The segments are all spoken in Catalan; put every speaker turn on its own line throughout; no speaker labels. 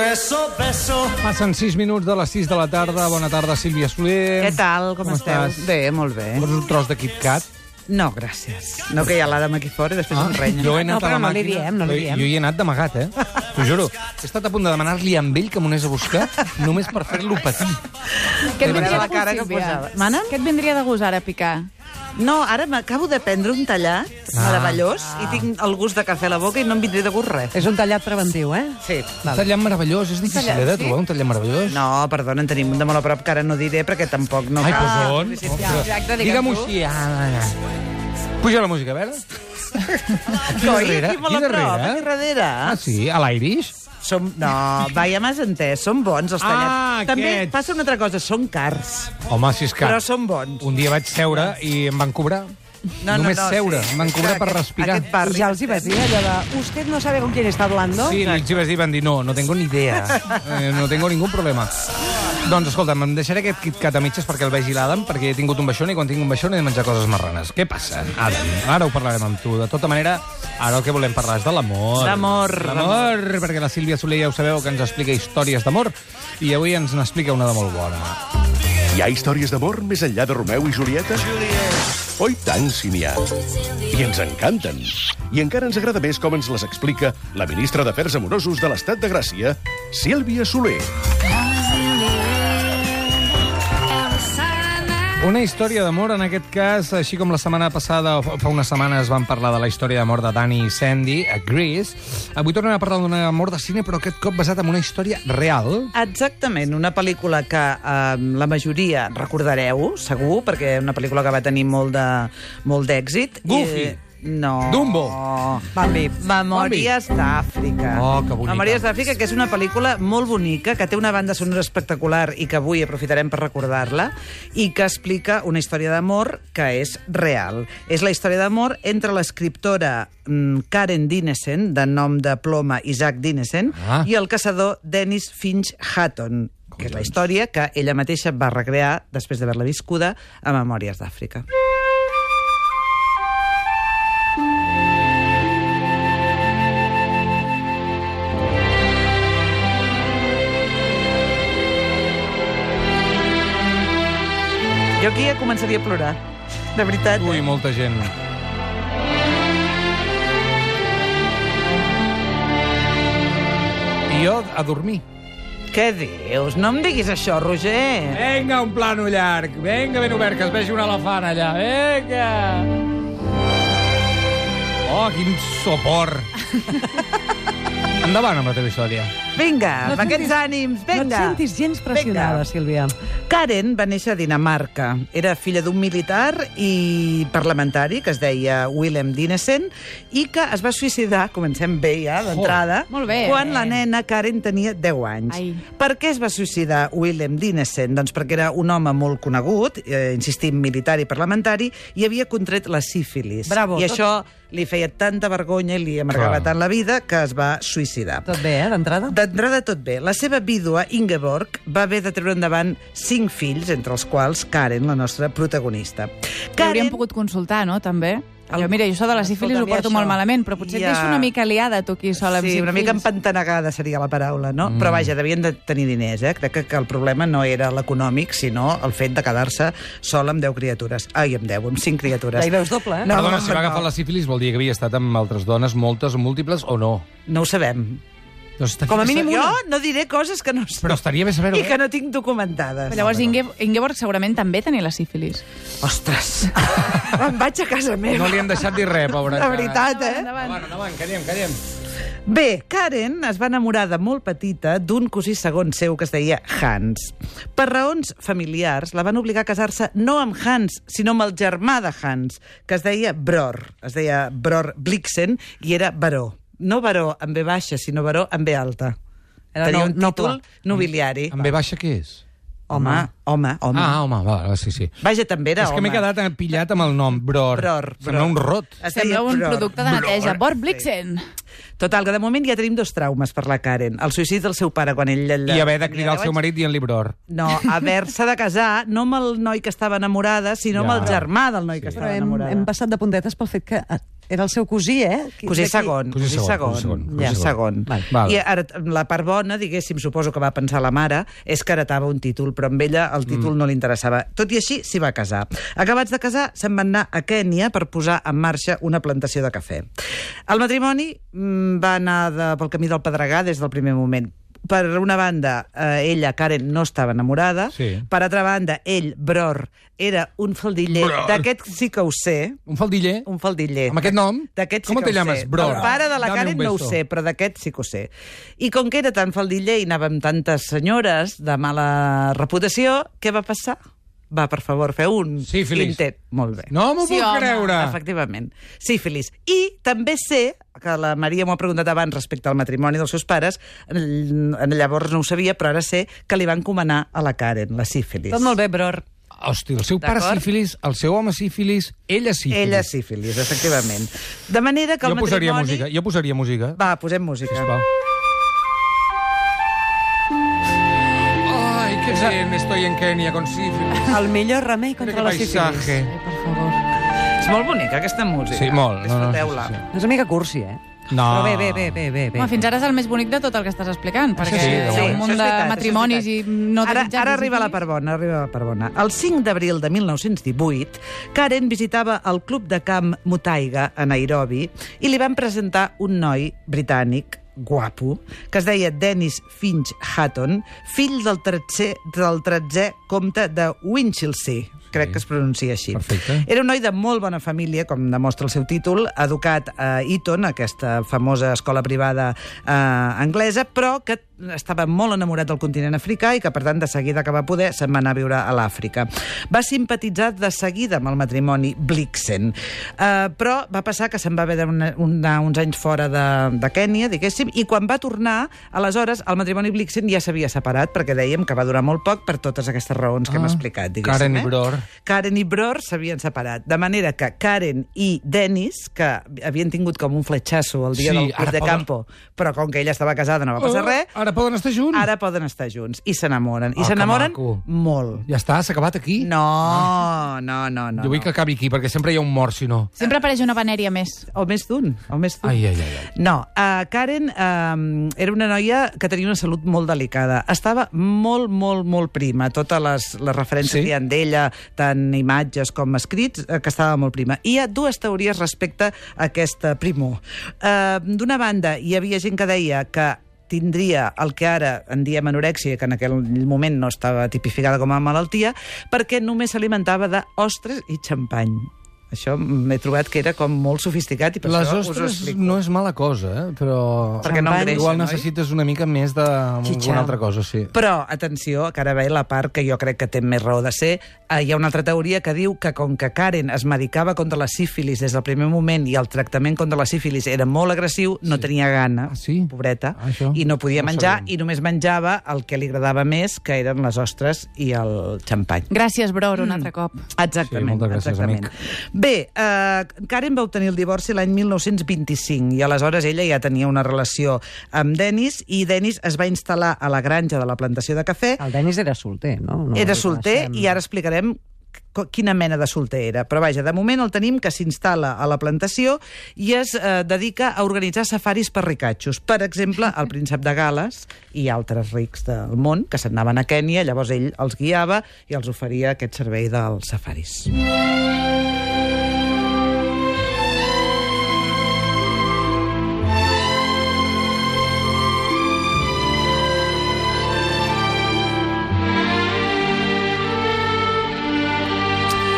beso, beso.
Passen 6 minuts de les 6 de la tarda. Bona tarda, Sílvia Soler.
Què tal, com,
Com
esteu?
estàs?
Bé, molt bé.
Vols un tros de Kit Kat?
No, gràcies. No, que hi ha l'Adam aquí fora i després em renya.
Ah, jo he
Ah. no,
anat a
però
la
no li
màquina-
diem, no li
Jo-
diem.
Jo hi he anat d'amagat, eh? T'ho juro. He estat a punt de demanar-li a ell que m'ho anés a buscar només per fer-lo patir.
Què et
Mira
vindria
la
de
cara
gust,
que
Sílvia?
posava. Mana?
Què et vindria de gust ara picar?
No, ara m'acabo de prendre un tallat
Ah.
meravellós i tinc el gust de cafè a la boca i no em vindré de gust res.
És un tallat preventiu, eh?
Sí.
Un tallant meravellós, és difícil, eh,
tallant,
de
sí?
trobar un tallant meravellós.
No, perdona, en tenim un de molt a prop que ara no diré perquè tampoc no
Ai,
cal.
pues on?
exacte, digue'm
Digue'm-ho
tu.
així. Ah, ah, ah. Puja la música, a veure. Aquí
Coi, aquí molt
aquí
a prop, aquí
darrere.
darrere.
Ah, sí, a l'Irish?
Som... No, va, ja m'has entès, són bons els tallats.
Ah,
També
aquests. Ah.
passa una altra cosa, són cars,
Home, si és que
però són bons.
un dia vaig seure i em van cobrar.
No, no,
Només
no,
seure,
sí.
em van cobrar per
Aquest-
respirar.
aquest barri
Ja els hi vas dir allò de... Usted no sabe con quién está hablando?
Sí, els hi vas dir, van dir, no, no tengo ni idea, eh, no tengo ningún problema. Doncs escolta'm, em deixaré aquest Kit Kat a mitges perquè el vegi l'Adam, perquè he tingut un baixón i quan tinc un baixón he de menjar coses marranes. Què passa, Adam? Ara ho parlarem amb tu. De tota manera, ara el que volem parlar és de l'amor.
D'amor.
L'amor, perquè la Sílvia Soler ja ho sabeu que ens explica històries d'amor i avui ens n'explica una de molt bona.
Hi ha històries d'amor més enllà de Romeu i Julieta? Oi tant, si n'hi ha. I ens encanten. I encara ens agrada més com ens les explica la ministra d'Afers Amorosos de l'Estat de Gràcia, Sílvia Soler.
Una història d'amor, en aquest cas, així com la setmana passada, o fa unes setmanes vam parlar de la història d'amor de Danny i Sandy a Grease, avui tornem a parlar d'un amor de cine, però aquest cop basat en una història real.
Exactament, una pel·lícula que eh, la majoria recordareu, segur, perquè una pel·lícula que va tenir molt de- molt d'èxit.
Goofy.
Eh, no.
Dumbo.
Bambi.
Memòries d'Àfrica.
Oh, que bonica.
Memòries d'Àfrica, que és una pel·lícula molt bonica, que té una banda sonora espectacular i que avui aprofitarem per recordar-la, i que explica una història d'amor que és real. És la història d'amor entre l'escriptora mm, Karen Dinesen, de nom de ploma Isaac Dinesen,
Ah.
i el caçador Dennis Finch Hatton, que és la història que ella mateixa va recrear després d'haver-la viscuda a Memòries d'Àfrica. Jo aquí ja començaria a plorar, de veritat.
Ui, molta gent. I jo a dormir.
Què dius? No em diguis això, Roger.
Vinga, un plano llarg. Vinga, ben obert, que es vegi un elefant allà. Vinga! Oh, quin sopor. Endavant amb la teva història.
Vinga,
No
amb
et
aquests
sentis-
ànims,
No et
vinga.
sentis gens pressionada,
Vinga.
Sílvia.
Karen va néixer a Dinamarca. Era filla d'un militar i parlamentari que es deia Willem Dinesen i que es va suïcidar, comencem bé ja, d'entrada,
Oh, molt bé.
quan la nena Karen tenia 10 anys.
Ai.
Per què es va suïcidar Willem Dinesen? Doncs perquè era un home molt conegut, eh, insistim, militar i parlamentari, i havia contret la sífilis.
Bravo,
I
tot-
això li feia tanta vergonya i li amargava
Clar.
tant la vida que es va suïcidar.
Tot bé, eh, d'entrada?
Ah. D'entrada tot bé. La seva vídua, Ingeborg, va haver de treure endavant cinc fills, entre els quals Karen, la nostra protagonista.
Hauríem pogut consultar, no, també?
El-
Jo, mira, jo això de la sífilis ho
Escolta,
porto
mira,
molt
això.
malament, però potser
Ja.
et deixo una mica liada, tu aquí sola amb
Sí,
cinc
una mica
fills.
empantanegada seria la paraula, no? Mm. Però vaja, devien de tenir diners, eh? Crec que, que el problema no era l'econòmic, sinó el fet de quedar-se sola amb 10 criatures. Ai, amb 10, amb 5 criatures.
Ja hi veus doble, eh?
No,
Perdona,
no,
si va
no.
agafar la sífilis vol dir que havia estat amb altres dones, moltes o múltiples, o no?
No ho sabem.
Doncs estaria
Com a mínim
Jo
una.
no diré coses que no sé
Però estaria bé saber-ho,
i que
eh?
no tinc documentades.
Però llavors Inge Ingeborg segurament també tenia la sífilis.
Ostres, em vaig a casa meva.
No li han deixat dir res, pobra.
La veritat,
Ah,
eh?
Endavant, endavant, callem, callem.
Bé, Karen es va enamorar de molt petita d'un cosí segon seu que es deia Hans. Per raons familiars, la van obligar a casar-se no amb Hans, sinó amb el germà de Hans, que es deia Bror. Es deia Bror Blixen i era baró. No baró amb B baixa, sinó baró amb B alta.
Era
Tenia
no-
un títol
noble.
nobiliari.
Amb B baixa què és?
Home, home, home.
Ah, home, va, va, sí, sí.
Vaja, també era
és que m'he
home.
quedat pillat amb el nom, Bror.
Bror,
Sembla
Bror.
un rot.
Es deia
Sembla un
Bror.
producte de neteja.
Bror,
Bor
sí.
Blixen!
Total, que de moment ja tenim dos traumes per la Karen. El suïcidi del seu pare quan ell...
I haver de cridar al seu
marit.
marit dient-li bror.
No, haver-se de casar no amb el noi que estava enamorada, sinó amb
Ja.
el germà del noi que
Però
estava
hem,
enamorada.
hem passat de puntetes pel fet que eh, era el seu cosí, eh? Qui-
Cosí
d'aquí-
segon,
Cosí
cosí
segon,
segon.
cosí segon,
Ja,
cosí
segon.
segon. Val.
I ara, la part bona, diguéssim, suposo que va pensar la mare, és que heretava un títol, però amb ella el títol
Mm.
no li interessava. Tot i així, s'hi va casar. Acabats de casar, se'n va anar a Kènia per posar en marxa una plantació de cafè. El matrimoni mm, va anar de, pel camí del Pedregar des del primer moment. Per una banda, eh, ella, Karen, no estava enamorada.
Sí.
Per altra banda, ell, Bror, era un faldiller.
Bror.
D'aquest sí que ho sé,
Un faldiller?
un faldiller.
Amb aquest nom?
D'aquest sí
Com te
que ho
llames,
sé.
Bror?
El pare de la
Dame
Karen
un
no ho
beso.
sé, però d'aquest sí que ho sé. I com que era tan faldiller i anava amb tantes senyores de mala reputació, què va passar? Va, per favor, fer un
Sífilis.
intent. Molt bé.
No m'ho
Sí,
puc
home,
creure!
Efectivament. Sífilis. I també sé, que la Maria m'ho ha preguntat abans respecte al matrimoni dels seus pares, l- llavors no ho sabia, però ara sé que li va encomanar a la Karen, la sífilis.
Tot molt bé, Bror.
Hòstia, el seu pare
D'acord.
sífilis, el seu home sífilis, ella sífilis.
Ella sífilis, efectivament. De manera que
Jo
el
posaria
matrimoni...
música, jo posaria música.
Va, posem música.
Sisplau. Ay, qué bien, estoy en Kenia con sífilis.
El millor remei
Mira
contra
qué
la sífilis.
paisaje.
Ai, per favor.
És molt bonica, aquesta música.
Sí, molt. No, no,
Disfruteu-la.
sí, sí.
És una mica cursi, eh?
No.
Però bé, bé, bé, bé, bé. bé.
Home, fins ara és el més bonic de tot el que estàs explicant, perquè
sí, eh.
hi ha
sí,
un
això
munt
és
de
veritat, això és
matrimonis i
veritat.
no
ara,
desitjats
ara
i
arriba la
sífilis.
part bona, arriba la part bona. El 5 d'abril de 1918, Karen visitava el club de camp Mutaiga, a Nairobi, i li van presentar un noi britànic, guapo, que es deia Dennis Finch Hatton, fill del 13, del 13è comte de Winchelsea, crec que es pronuncia així.
Perfecte.
Era un noi de molt bona família, com demostra el seu títol, educat a Eton, aquesta famosa escola privada eh, anglesa, però que estava molt enamorat del continent africà i que, per tant, de seguida que va poder, se'n va anar a viure a l'Àfrica. Va simpatitzar de seguida amb el matrimoni Blixen, eh, però va passar que se'n va haver d'anar una- uns anys fora de, de Kènia, diguéssim, i quan va tornar, aleshores, el matrimoni Blixen ja s'havia separat, perquè dèiem que va durar molt poc per totes aquestes raons que hem explicat,
Ah. Karen
diguéssim.
i
eh?
Bror.
Karen i Bror s'havien separat, de manera que Karen i Dennis, que havien tingut com un fletxasso el dia
Sí,
del
ara
club de
poden-
campo, però com que ella estava casada no va passar res,
Oh, Ara poden estar junts?
ara poden estar junts i s'enamoren.
Ah,
I
que
s'enamoren
maco.
molt.
Ja està, s'ha acabat aquí?
No, no, no, no.
Jo vull
no.
que acabi aquí, perquè sempre hi ha un mort, si no.
Sempre apareix una venèria més.
O més d'un, o més d'un.
Ai, ai, ai, ai.
No, uh, Karen uh, era una noia que tenia una salut molt delicada. Estava molt, molt, molt prima. Totes les, les referències
Sí?
sí? que hi ha d'ella, tant imatges com escrits, eh, que estava molt prima. Hi ha dues teories respecte a aquesta primor. Uh, D'una banda, hi havia gent que deia que tindria el que ara en diem anorèxia, que en aquell moment no estava tipificada com a malaltia, perquè només s'alimentava d'ostres i xampany. Això m'he trobat que era com molt sofisticat i per
Les
això us ho
ostres
explico.
no és mala cosa, eh? però...
Perquè no engreixen,
Igual
oi?
necessites una mica més de...
Xitxa.
Una altra cosa, sí.
Però, atenció, que ara ve la part que jo crec que té més raó de ser. Eh, hi ha una altra teoria que diu que com que Karen es medicava contra la sífilis des del primer moment i el tractament contra la sífilis era molt agressiu, no tenia gana,
Ah, sí?
pobreta,
Ah, això
i no podia
no ho
menjar
sabíem.
i només menjava el que li agradava més, que eren les ostres i el xampany.
Gràcies, Bror,
Mm.
un altre cop.
Sí,
Exactament.
moltes gràcies,
exactament.
amic.
Bé, eh, Karen va obtenir el divorci l'any 1925 i aleshores ella ja tenia una relació amb Dennis i Dennis es va instal·lar a la granja de la plantació de cafè
El Denis era solter, no? no
era solter i ara explicarem co- quina mena de solter era. Però vaja, de moment el tenim que s'instal·la a la plantació i es eh, dedica a organitzar safaris per ricatxos. Per exemple, el príncep de Gales i altres rics del món que se'n anaven a Kènia, llavors ell els guiava i els oferia aquest servei dels safaris.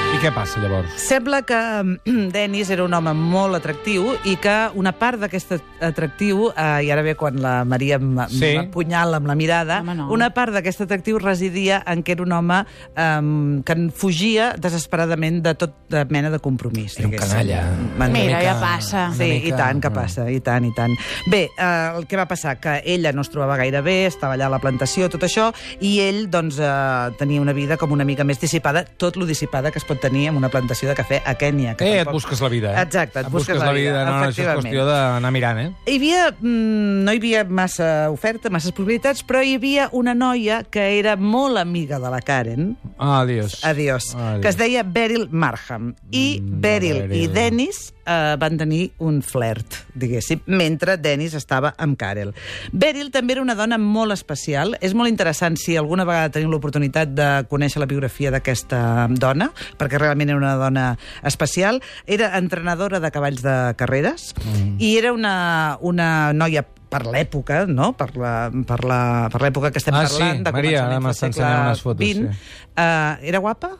I què passa, llavors?
Sembla que ehm, Dennis era un home molt atractiu i que una part d'aquest atractiu, eh, i ara ve quan la Maria
Sí.
m'apunyala amb la mirada,
Home, no.
una part d'aquest atractiu residia en que era un home eh, que en fugia desesperadament de tota mena de compromís.
Era un
diguéssim.
canalla.
Una
Mira,
mica-
ja passa.
Sí,
mica,
i tant, que
no.
passa, i tant, i tant. Bé, eh, el que va passar, que ella no es trobava gaire bé, estava allà a la plantació, tot això, i ell, doncs, eh, tenia una vida com una mica més dissipada, tot lo dissipada que es pot tenir Kènia, amb una plantació de cafè a Kènia. Que
Eh, et
tampoc-
busques la vida. eh?
Exacte, et busques
la vida. No, no, això és
efectivament.
qüestió d'anar mirant, eh?
Hi havia, mm, no hi havia massa oferta, masses possibilitats, però hi havia una noia que era molt amiga de la Karen,
Ah, adiós.
Adiós,
Adiós.
que es deia Beryl Marham. I Beryl i
Beryl.
Dennis eh, van tenir un flert, diguéssim, mentre Dennis estava amb Karel. Beryl també era una dona molt especial. És molt interessant si alguna vegada teniu l'oportunitat de conèixer la biografia d'aquesta dona, perquè realment era una dona especial. Era entrenadora de cavalls de carreres mm. i era una, una noia per l'època, no? Per la- per la- per l'època que estem
Ah, sí,
parlant, de
Maria, ara m'està
començaments del
ensenyant unes
segle
fotos,
XX.
sí.
Uh, era guapa?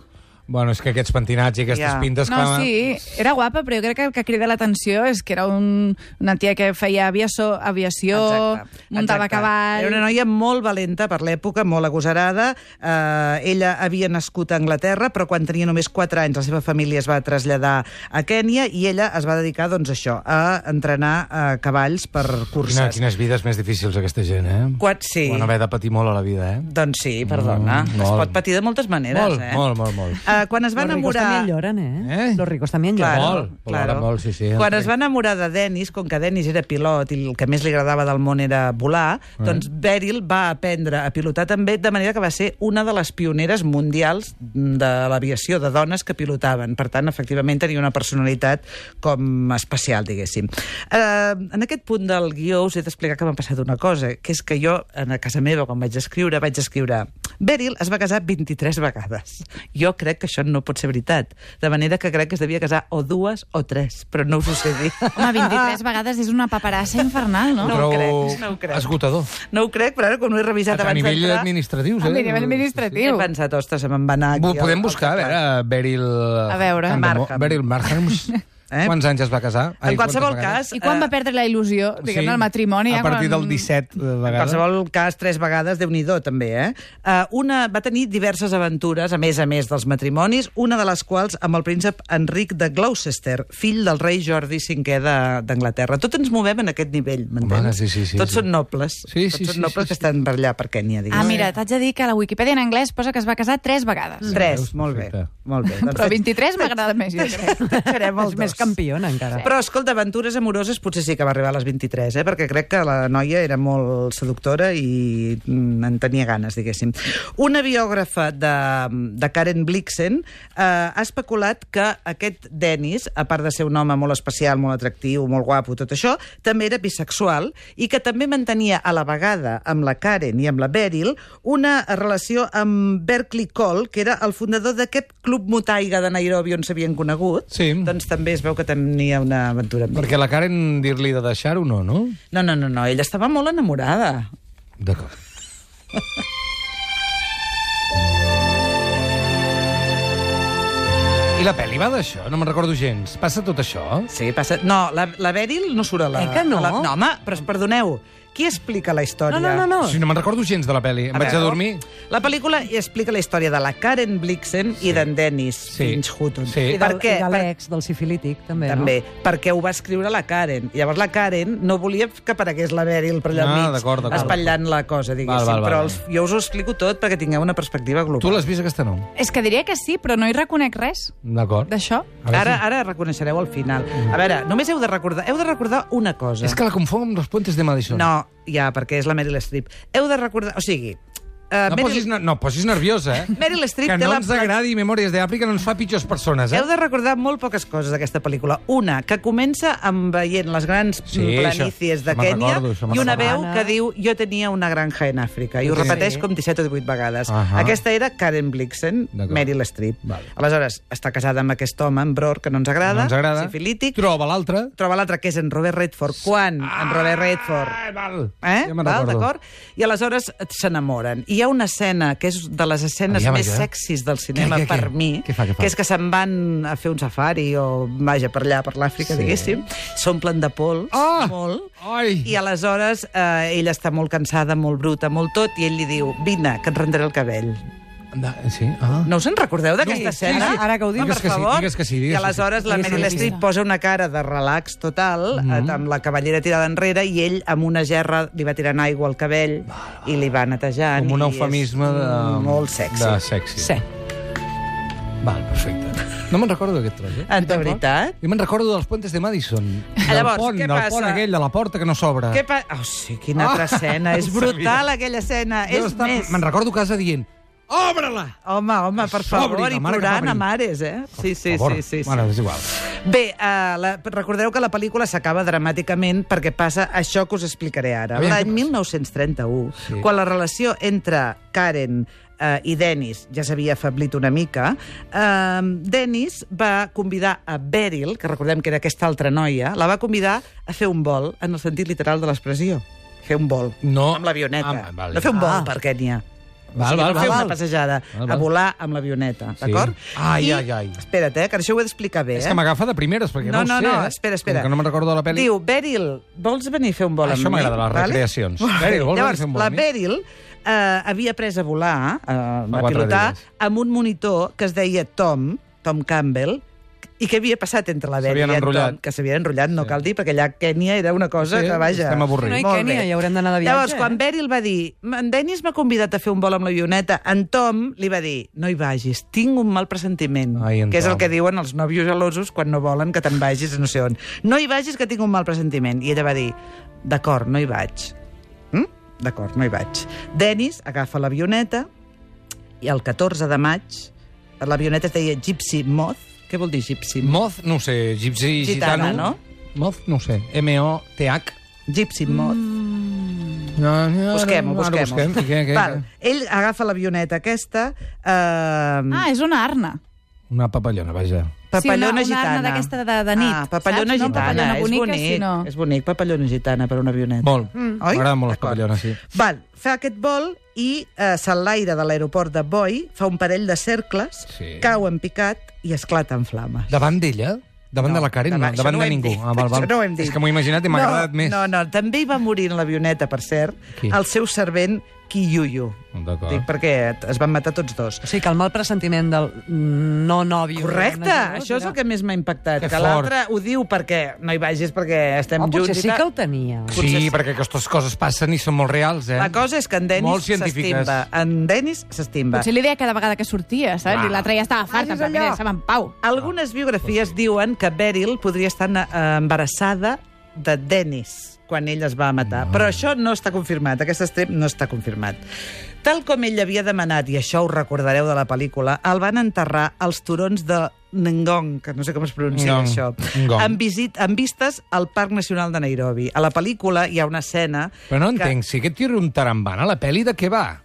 Bueno, és que aquests pentinats i aquestes
Ja.
pintes...
No,
clar,
sí, era guapa, però jo crec que el que crida l'atenció és que era un, una tia que feia aviació, aviació
Exacte,
muntava
exacte.
cavall...
Era una noia molt valenta per l'època, molt agosarada. Eh, ella havia nascut a Anglaterra, però quan tenia només 4 anys la seva família es va traslladar a Kènia i ella es va dedicar, doncs, això, a entrenar eh, cavalls per
Quina,
curses.
quines vides més difícils aquesta gent, eh?
Quan, sí.
Van haver de patir molt a la vida, eh?
Doncs sí, perdona.
Mm,
Mm, es
molt.
pot patir de moltes maneres,
Molt,
eh?
molt, molt, molt.
Eh, quan es va
Los ricos
enamorar...
también lloran, eh?
Eh?
Los ricos también lloran.
Claro. Molt, plora molt, sí, sí.
Quan es va enamorar de Dennis, com que Dennis era pilot i el que més li agradava del món era volar,
Eh.
doncs Beryl va aprendre a pilotar també, de manera que va ser una de les pioneres mundials de l'aviació, de dones que pilotaven. Per tant, efectivament, tenia una personalitat com especial, diguéssim. Eh, en aquest punt del guió us he d'explicar que m'ha passat una cosa, que és que jo, en a casa meva, quan vaig escriure, vaig escriure Beryl es va casar 23 vegades. Jo crec que això no pot ser veritat. De manera que crec que es devia casar o dues o tres, però no us ho sé dir.
Home, 23 vegades és una paperassa infernal, no?
No. ho crec, no ho crec.
Esgotador.
No ho crec, però ara quan ho he revisat
A
abans
nivell
d'entrar,
administratiu,
A
eh?
nivell
He
administratiu.
pensat, ostres, se me'n va anar aquí.
Ho
al-
podem
al
buscar, a
teclat.
veure, Beryl...
A veure.
Markham.
Beryl Markham.
Eh?
Quants anys es va casar? Ai,
En qualsevol
quantes vegades?
cas... eh,
I quan va perdre la il·lusió, diguem-ne, el matrimoni?
A
ja
partir
quan-
del 17 de
En
vegades.
qualsevol cas, tres vegades, déu nhi també, eh? Uh, una va tenir diverses aventures, a més a més dels matrimonis, una de les quals amb el príncep Enric de Gloucester, fill del rei Jordi V de- d'Anglaterra. Tot ens movem en aquest nivell,
Home,
m'entens?
sí, sí, sí,
Tots
sí.
són nobles.
Sí, sí,
Tots
sí,
són nobles
sí,
que estan per allà, per Kènia, diguem.
Ah, mira, t'haig de dir que la Wikipedia en anglès posa que es va casar 3 vegades.
Tres,
Veus?
molt bé.
Perfecte.
Molt bé. Doncs
Però 23 m'agrada més, jo crec.
Farem el
És més
dos.
campiona, encara.
Però, escolta, aventures amoroses potser sí que va arribar a les 23, eh? perquè crec que la noia era molt seductora i mm, en tenia ganes, diguéssim. Una biògrafa de, de Karen Blixen eh, ha especulat que aquest Dennis, a part de ser un home molt especial, molt atractiu, molt guapo, tot això, també era bisexual i que també mantenia a la vegada amb la Karen i amb la Beryl una relació amb Berkeley Cole, que era el fundador d'aquest club mutaiga de Nairobi on s'havien conegut.
Sí.
Doncs també es veu que tenia una aventura amb ell.
Perquè la Karen dir-li de deixar-ho, no, no?
No, no, no, no, ella estava molt enamorada.
D'acord. I la pel·li va d'això? No me'n recordo gens. Passa tot això?
Sí, passa... No, la, la Beryl no surt a la...
Eh que no?
a La... No, home, però perdoneu, qui explica la història?
No, no, no, no.
Si no me'n recordo gens de la pel·li. Em vaig a
veure.
dormir...
La pel·lícula explica la història de la Karen Blixen sí. i d'en Dennis
Sí.
sí. Finch Hutton.
Sí.
I
Per
del,
què?
i de
Per-
l'ex, del sifilític, també,
també, perquè ho va escriure la Karen. Llavors la Karen no volia que aparegués la Beryl per allà
Ah,
enmig,
d'acord, d'acord.
espatllant la cosa, diguéssim.
Val, val, val.
Però els, jo us ho explico tot perquè tingueu una perspectiva
Tu
global.
l'has vist, aquesta no?
És que diria que sí, però no hi reconec res
D'acord.
d'això.
A veure
Ara,
si-
ara reconeixereu el final. A veure, només heu de recordar, heu de recordar una cosa.
És que la confongo amb los puentes de Madison.
No, ja, perquè és la Meryl Streep. Heu de recordar... O sigui... Uh,
No posis, no, no posis nerviosa, eh?
Meryl Streep
que
té
no
la
ens agradi Memòries d'Àfrica no ens fa pitjors persones, eh?
Heu de recordar molt poques coses d'aquesta pel·lícula. Una, que comença amb veient les grans
Sí,
sí,
això-
planícies de
això me'n
Kènia
recordo, això me'n
i una veu
recordo.
que diu jo tenia una granja en Àfrica. I ho
Sí.
repeteix
Sí.
com 17 o 18 vegades.
Ahà.
Aquesta era Karen Blixen,
D'acord.
Meryl Streep.
Vale.
Aleshores, està casada amb aquest home, en Bror, que no ens agrada,
no ens agrada.
sifilític.
Troba l'altre.
Troba l'altre, que és en Robert Redford. Quan en Robert Redford
Ah, val.
Eh?
Ja me'n
Val,
recordo.
d'acord? I aleshores s'enamoren. I hi ha una escena que és de les escenes
Aviam,
més
aviam.
sexis del cinema
Què, què,
per
què?
mi,
Què fa, què fa?
que és que se'n van a fer un safari o, vaja, per allà, per
Sí.
l'Àfrica, sí. diguéssim. S'omplen de pols,
Ah!
molt.
Ai.
I aleshores eh, ella està molt cansada, molt bruta, molt tot, i ell li diu, vine, que et rentaré el cabell.
Da- Sí? Ah.
No us en recordeu d'aquesta
Sí, sí,
escena?
sí. Ara que ho dius.
Home,
Digues
per
que sí,
favor.
digues que sí, digues Mm-hmm. que
I
sí.
aleshores la
Digues que
Meryl
sí.
Streep posa una cara de relax total, mm -hmm. amb la cavallera tirada enrere, i ell amb una gerra li va tirant aigua al cabell i li va netejant.
Com un
i
eufemisme
és
de...
Molt sexy.
De sexy.
Sí.
Val, perfecte. No me'n recordo d'aquest tros, eh?
Ah, de veritat? Ah,
Jo me'n recordo dels puentes de Madison. Del
Llavors,
pont,
què
del
passa?
pont aquell, de la porta que no s'obre.
Què pa... Oh, sí, quina altra
Ah,
escena. És
no
brutal,
sabia.
aquella escena.
Jo
és
estava-
més...
Me'n recordo casa dient... Obre-la!
Home, home, per
S'obre,
favor,
la
i
mare que va
plorant
venir.
a mares, eh? Sí, sí,
Per favor.
sí, sí. sí.
Bueno, és igual.
Bé, eh, la, recordeu que la pel·lícula s'acaba dramàticament perquè passa això que us explicaré ara.
Aviam,
L'any
què
1931,
Sí.
sí. quan la relació entre Karen eh, i Dennis ja s'havia afeblit una mica, eh, Dennis va convidar a Beryl, que recordem que era aquesta altra noia, la va convidar a fer un vol, en el sentit literal de l'expressió. Fer un vol.
No.
Amb l'avioneta.
Ah, vale.
No fer un vol
Ah.
per Kènia.
Val, val,
no fer
val.
una passejada,
Val, val.
a volar amb l'avioneta,
Sí.
d'acord?
Ai,
I-
ai, ai.
Espera't, eh, que això ho he d'explicar bé.
És
eh?
que m'agafa de primeres, perquè
No,
no,
no,
ho sé.
no,
eh?
espera, espera.
Com que no me'n recordo de la pel·li.
Diu, Beryl, vols venir a fer un vol
Això
amb mi?
m'agrada, les
Vale?
recreacions. Beryl, vols venir a
Llavors,
fer un vol
la
amb mi?
Beryl eh, havia après a volar, eh, a
quatre
pilotar,
dies.
amb un monitor que es deia Tom, Tom Campbell, i què havia passat entre la Beryl i
S'havien
en
enrotllat.
Tom? Que s'havien enrotllat, no cal dir, perquè allà a Kènia era una cosa
Sí,
que, vaja...
estem avorrits. No, i
molt bé.
Kènia, hi haurem d'anar de viatge,
Llavors,
eh?
quan Beryl va dir, en Dennis m'ha convidat a fer un vol amb l'avioneta, en Tom li va dir, no hi vagis, tinc un mal pressentiment,
Ai, en
que és el
Tom.
que diuen els nòvios gelosos quan no volen que te'n vagis a no sé on. No hi vagis, que tinc un mal pressentiment. I ella va dir, d'acord, no hi vaig. Mm? D'acord, no hi vaig. Dennis agafa l'avioneta i el 14 de maig l'avioneta es deia Gypsy Moth. Què vol dir Gypsy Moth?
Moz, no ho sé, gipsy,
Gitana,
gitano.
no?
Moz, no ho sé. M-O-T-H.
Gypsy Moth.
No, Mm, no,
Busquem-ho,
no, ara
busquem-ho.
busquem. I què, què,
Val,
què?
ell agafa l'avioneta aquesta, eh,
Ah, és una arna.
Una papallona, vaja.
papallona
sí, una, una
gitana.
arna d'aquesta de, de nit.
ah, papallona
saps?
gitana,
No, papallona
és
bonica,
bonic.
sinó...
És bonic, papallona gitana per una avioneta.
Molt.
Mm. Oi?
M'agraden molt les
D'acord.
papallones, sí.
Val, fa aquest vol i eh, s'enlaira de l'aeroport de Boi, fa un parell de cercles,
Sí.
cau en picat i esclata en flames.
Davant d'ella? Davant de la Karen? Davant,
davant- això
davant
no ho
de
hem
ningú.
dit,
Ah, val, val.
això no ho hem dit.
És que m'ho he imaginat i m'ha agradat més.
No, no, també hi va morir en l'avioneta, per cert,
Qui?
el seu servent Kiyuyu.
D'acord.
Dic, perquè es van matar tots dos.
O sigui, que el mal pressentiment del no nòvio...
Correcte, això és el que més m'ha impactat.
Que
Que, l'altre ho diu perquè no hi vagis perquè estem
Oh, potser
junts
sí
i
que
tal.
el tenia.
Sí,
potser sí.
perquè aquestes coses passen i són molt reals, eh?
La cosa és que en
Molt
Denis
científiques.
s'estimba. En Denis s'estimba.
Potser li deia cada vegada que sortia, saps?
Clar.
I l'altre ja estava farta,
Vagis
perquè
allò.
mira, estava en pau.
Ah,
Algunes
oh,
biografies diuen que Beryl podria estar eh, embarassada de Dennis quan ell es va matar.
Ah.
Però això no està confirmat, aquest estrep no està confirmat. Tal com ell havia demanat, i això ho recordareu de la pel·lícula, el van enterrar als turons de Ngong, que no sé com es pronuncia
Ngong.
això,
Ngong.
amb, visit, amb vistes al Parc Nacional de Nairobi. A la pel·lícula hi ha una escena...
Però no entenc, si aquest tio era un tarambana, la pel·li de què va?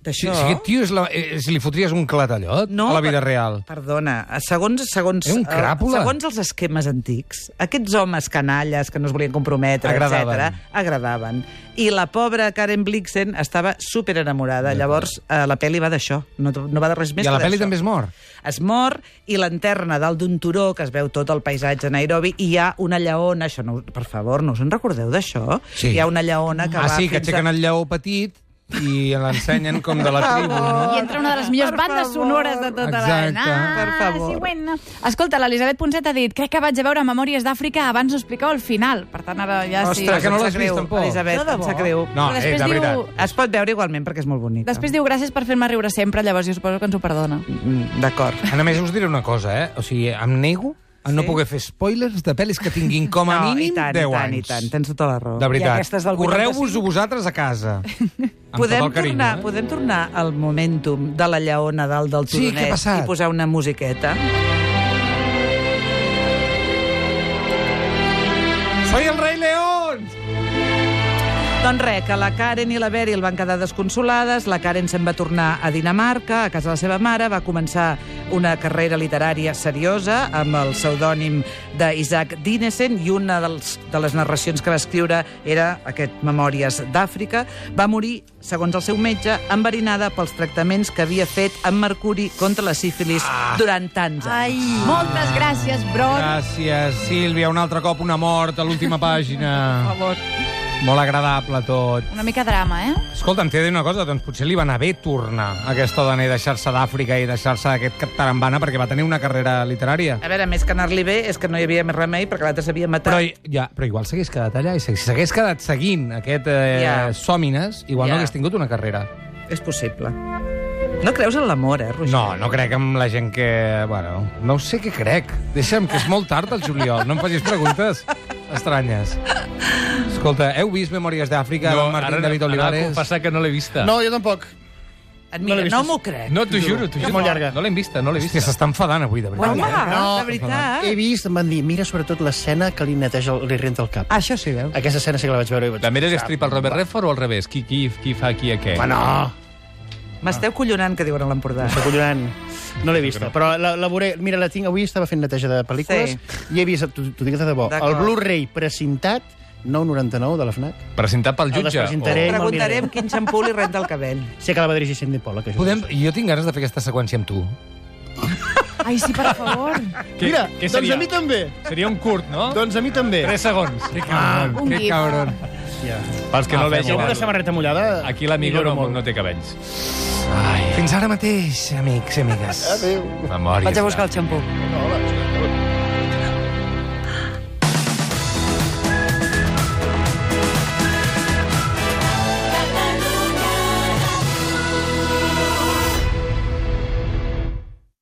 Si, si
D'això...
aquest tio és la, eh, si li fotries un clatallot a la vida
per-
real.
Perdona, eh, segons, segons,
Era un
eh,
cràpula.
segons els esquemes antics, aquests homes canalles que no es volien comprometre,
Agradaven.
etc, agradaven. I la pobra Karen Blixen estava super enamorada. Llavors, eh, la pel·li va d'això, no, no va de res
I
més
a
que
la pel·li
d'això.
també es mor.
Es mor i l'enterren a dalt d'un turó que es veu tot el paisatge a Nairobi i hi ha una lleona, això no, per favor, no us en recordeu d'això?
Sí.
Hi ha una lleona que
ah,
va
sí, que
fins
aixequen
a...
el lleó petit i l'ensenyen com de la
Ah,
tribu, no?
I entra una de les millors
Per
bandes
favor.
sonores de tota
Exacte.
la... Ah,
Per favor.
Sí, bueno. Escolta, l'Elisabet Ponset ha dit crec que vaig a veure Memòries d'Àfrica abans d'ho explicar al final. Per tant, ara ja sí.
Ostres, que no
em sap
l'has vist,
greu,
tampoc.
Elisabet,
No, de
em sap
bo.
greu.
No,
Però
eh,
després
de
diu-
veritat.
Es pot veure igualment perquè és molt bonica.
Després diu gràcies per fer-me riure sempre, llavors jo suposo que ens ho perdona.
Mm, D'acord.
A més, us diré una cosa, eh? O sigui, em nego a no
Sí.
poder fer spoilers de pel·lis que tinguin com a
no,
mínim
i tant,
10
i tant,
anys.
I tant, tens tota la raó.
De veritat.
aquestes del
Correu-vos-ho vosaltres a casa. Amb
podem,
tot el carinyo.
tornar,
eh?
podem tornar al momentum de la lleona dalt del
Sí, què ha
turonet
passat?
i posar una musiqueta?
Soy el rei León!
Doncs res, que la Karen i la Beryl van quedar desconsolades, la Karen se'n va tornar a Dinamarca, a casa de la seva mare, va començar una carrera literària seriosa amb el pseudònim d'Isaac Dinesen i una dels, de les narracions que va escriure era aquest Memòries d'Àfrica. Va morir, segons el seu metge, enverinada pels tractaments que havia fet amb mercuri contra la sífilis
Ah.
durant tants anys.
Ai. Moltes gràcies, Bron.
Gràcies, Sílvia. Un altre cop una mort a l'última pàgina.
favor.
Molt agradable tot.
Una mica drama, eh?
Escolta'm, t'he de dir una cosa, doncs potser li va anar bé tornar a aquesta dona i deixar-se d'Àfrica i deixar-se d'aquest tarambana perquè va tenir una carrera literària.
A veure, més que anar-li bé és que no hi havia més remei perquè l'altre s'havia matat.
Però, i- ja, però igual s'hagués quedat allà i s'hagués- s'hagués quedat seguint aquest eh,
Ja.
yeah. sòmines, igual
Ja.
no hagués tingut una carrera.
És possible. No creus en l'amor, eh, Roger?
No, no crec en la gent que... Bueno, no sé què crec. Deixa'm, que és molt tard el juliol. No em facis preguntes estranyes. Escolta, heu vist Memòries d'Àfrica no, Martín
ara,
David
Ara
Olivares?
confessar que no l'he vista.
No, jo tampoc.
Et mira, no m'ho crec.
No, t'ho juro, t'ho juro.
És molt llarga.
No l'hem vista, no l'he
Hòstia,
vista.
s'està enfadant avui, de veritat. eh?
Home,
No.
de veritat.
He vist, em van dir, mira sobretot l'escena que li neteja, el- li renta el
Ah.
cap.
Això sí, veu?
Aquesta escena sí que la vaig veure i vaig...
La Meryl Streep al Robert Redford o al revés? Qui, qui, qui fa aquí a què?
Home, no!
Ah.
M'esteu collonant, que diuen a l'Empordà.
Estic collonant. No l'he vista, però la, la veuré. Mira, la tinc, avui estava fent neteja de pel·lícules
Sí.
i he vist, t'ho t'ho dic de debò, el
D'acord.
Blu-ray precintat, 9,99 de la FNAC.
Presentat pel
El
jutge?
despresentaré. Ell me'l
Preguntarem
miraré.
quin xampú li renta el cabell.
Sé que la va dirigir Cindy Pollack.
Oh.
això.
Podem... Jo tinc ganes de fer aquesta seqüència amb tu.
Ai, sí, per favor.
Què-
Mira,
què
doncs
seria?
a mi també.
Seria un curt, no?
Doncs a mi també.
3 segons. Que cabron.
Un
que
gif.
cabron.
Hòstia.
Pels que no el
Si
vegin.
amb una
ara.
samarreta mullada...
Aquí l'amigo no,
millora
no té cabells.
Fins ara mateix, amics i amigues.
Adéu.
Memòries.
Vaig a buscar el xampú.
Hola.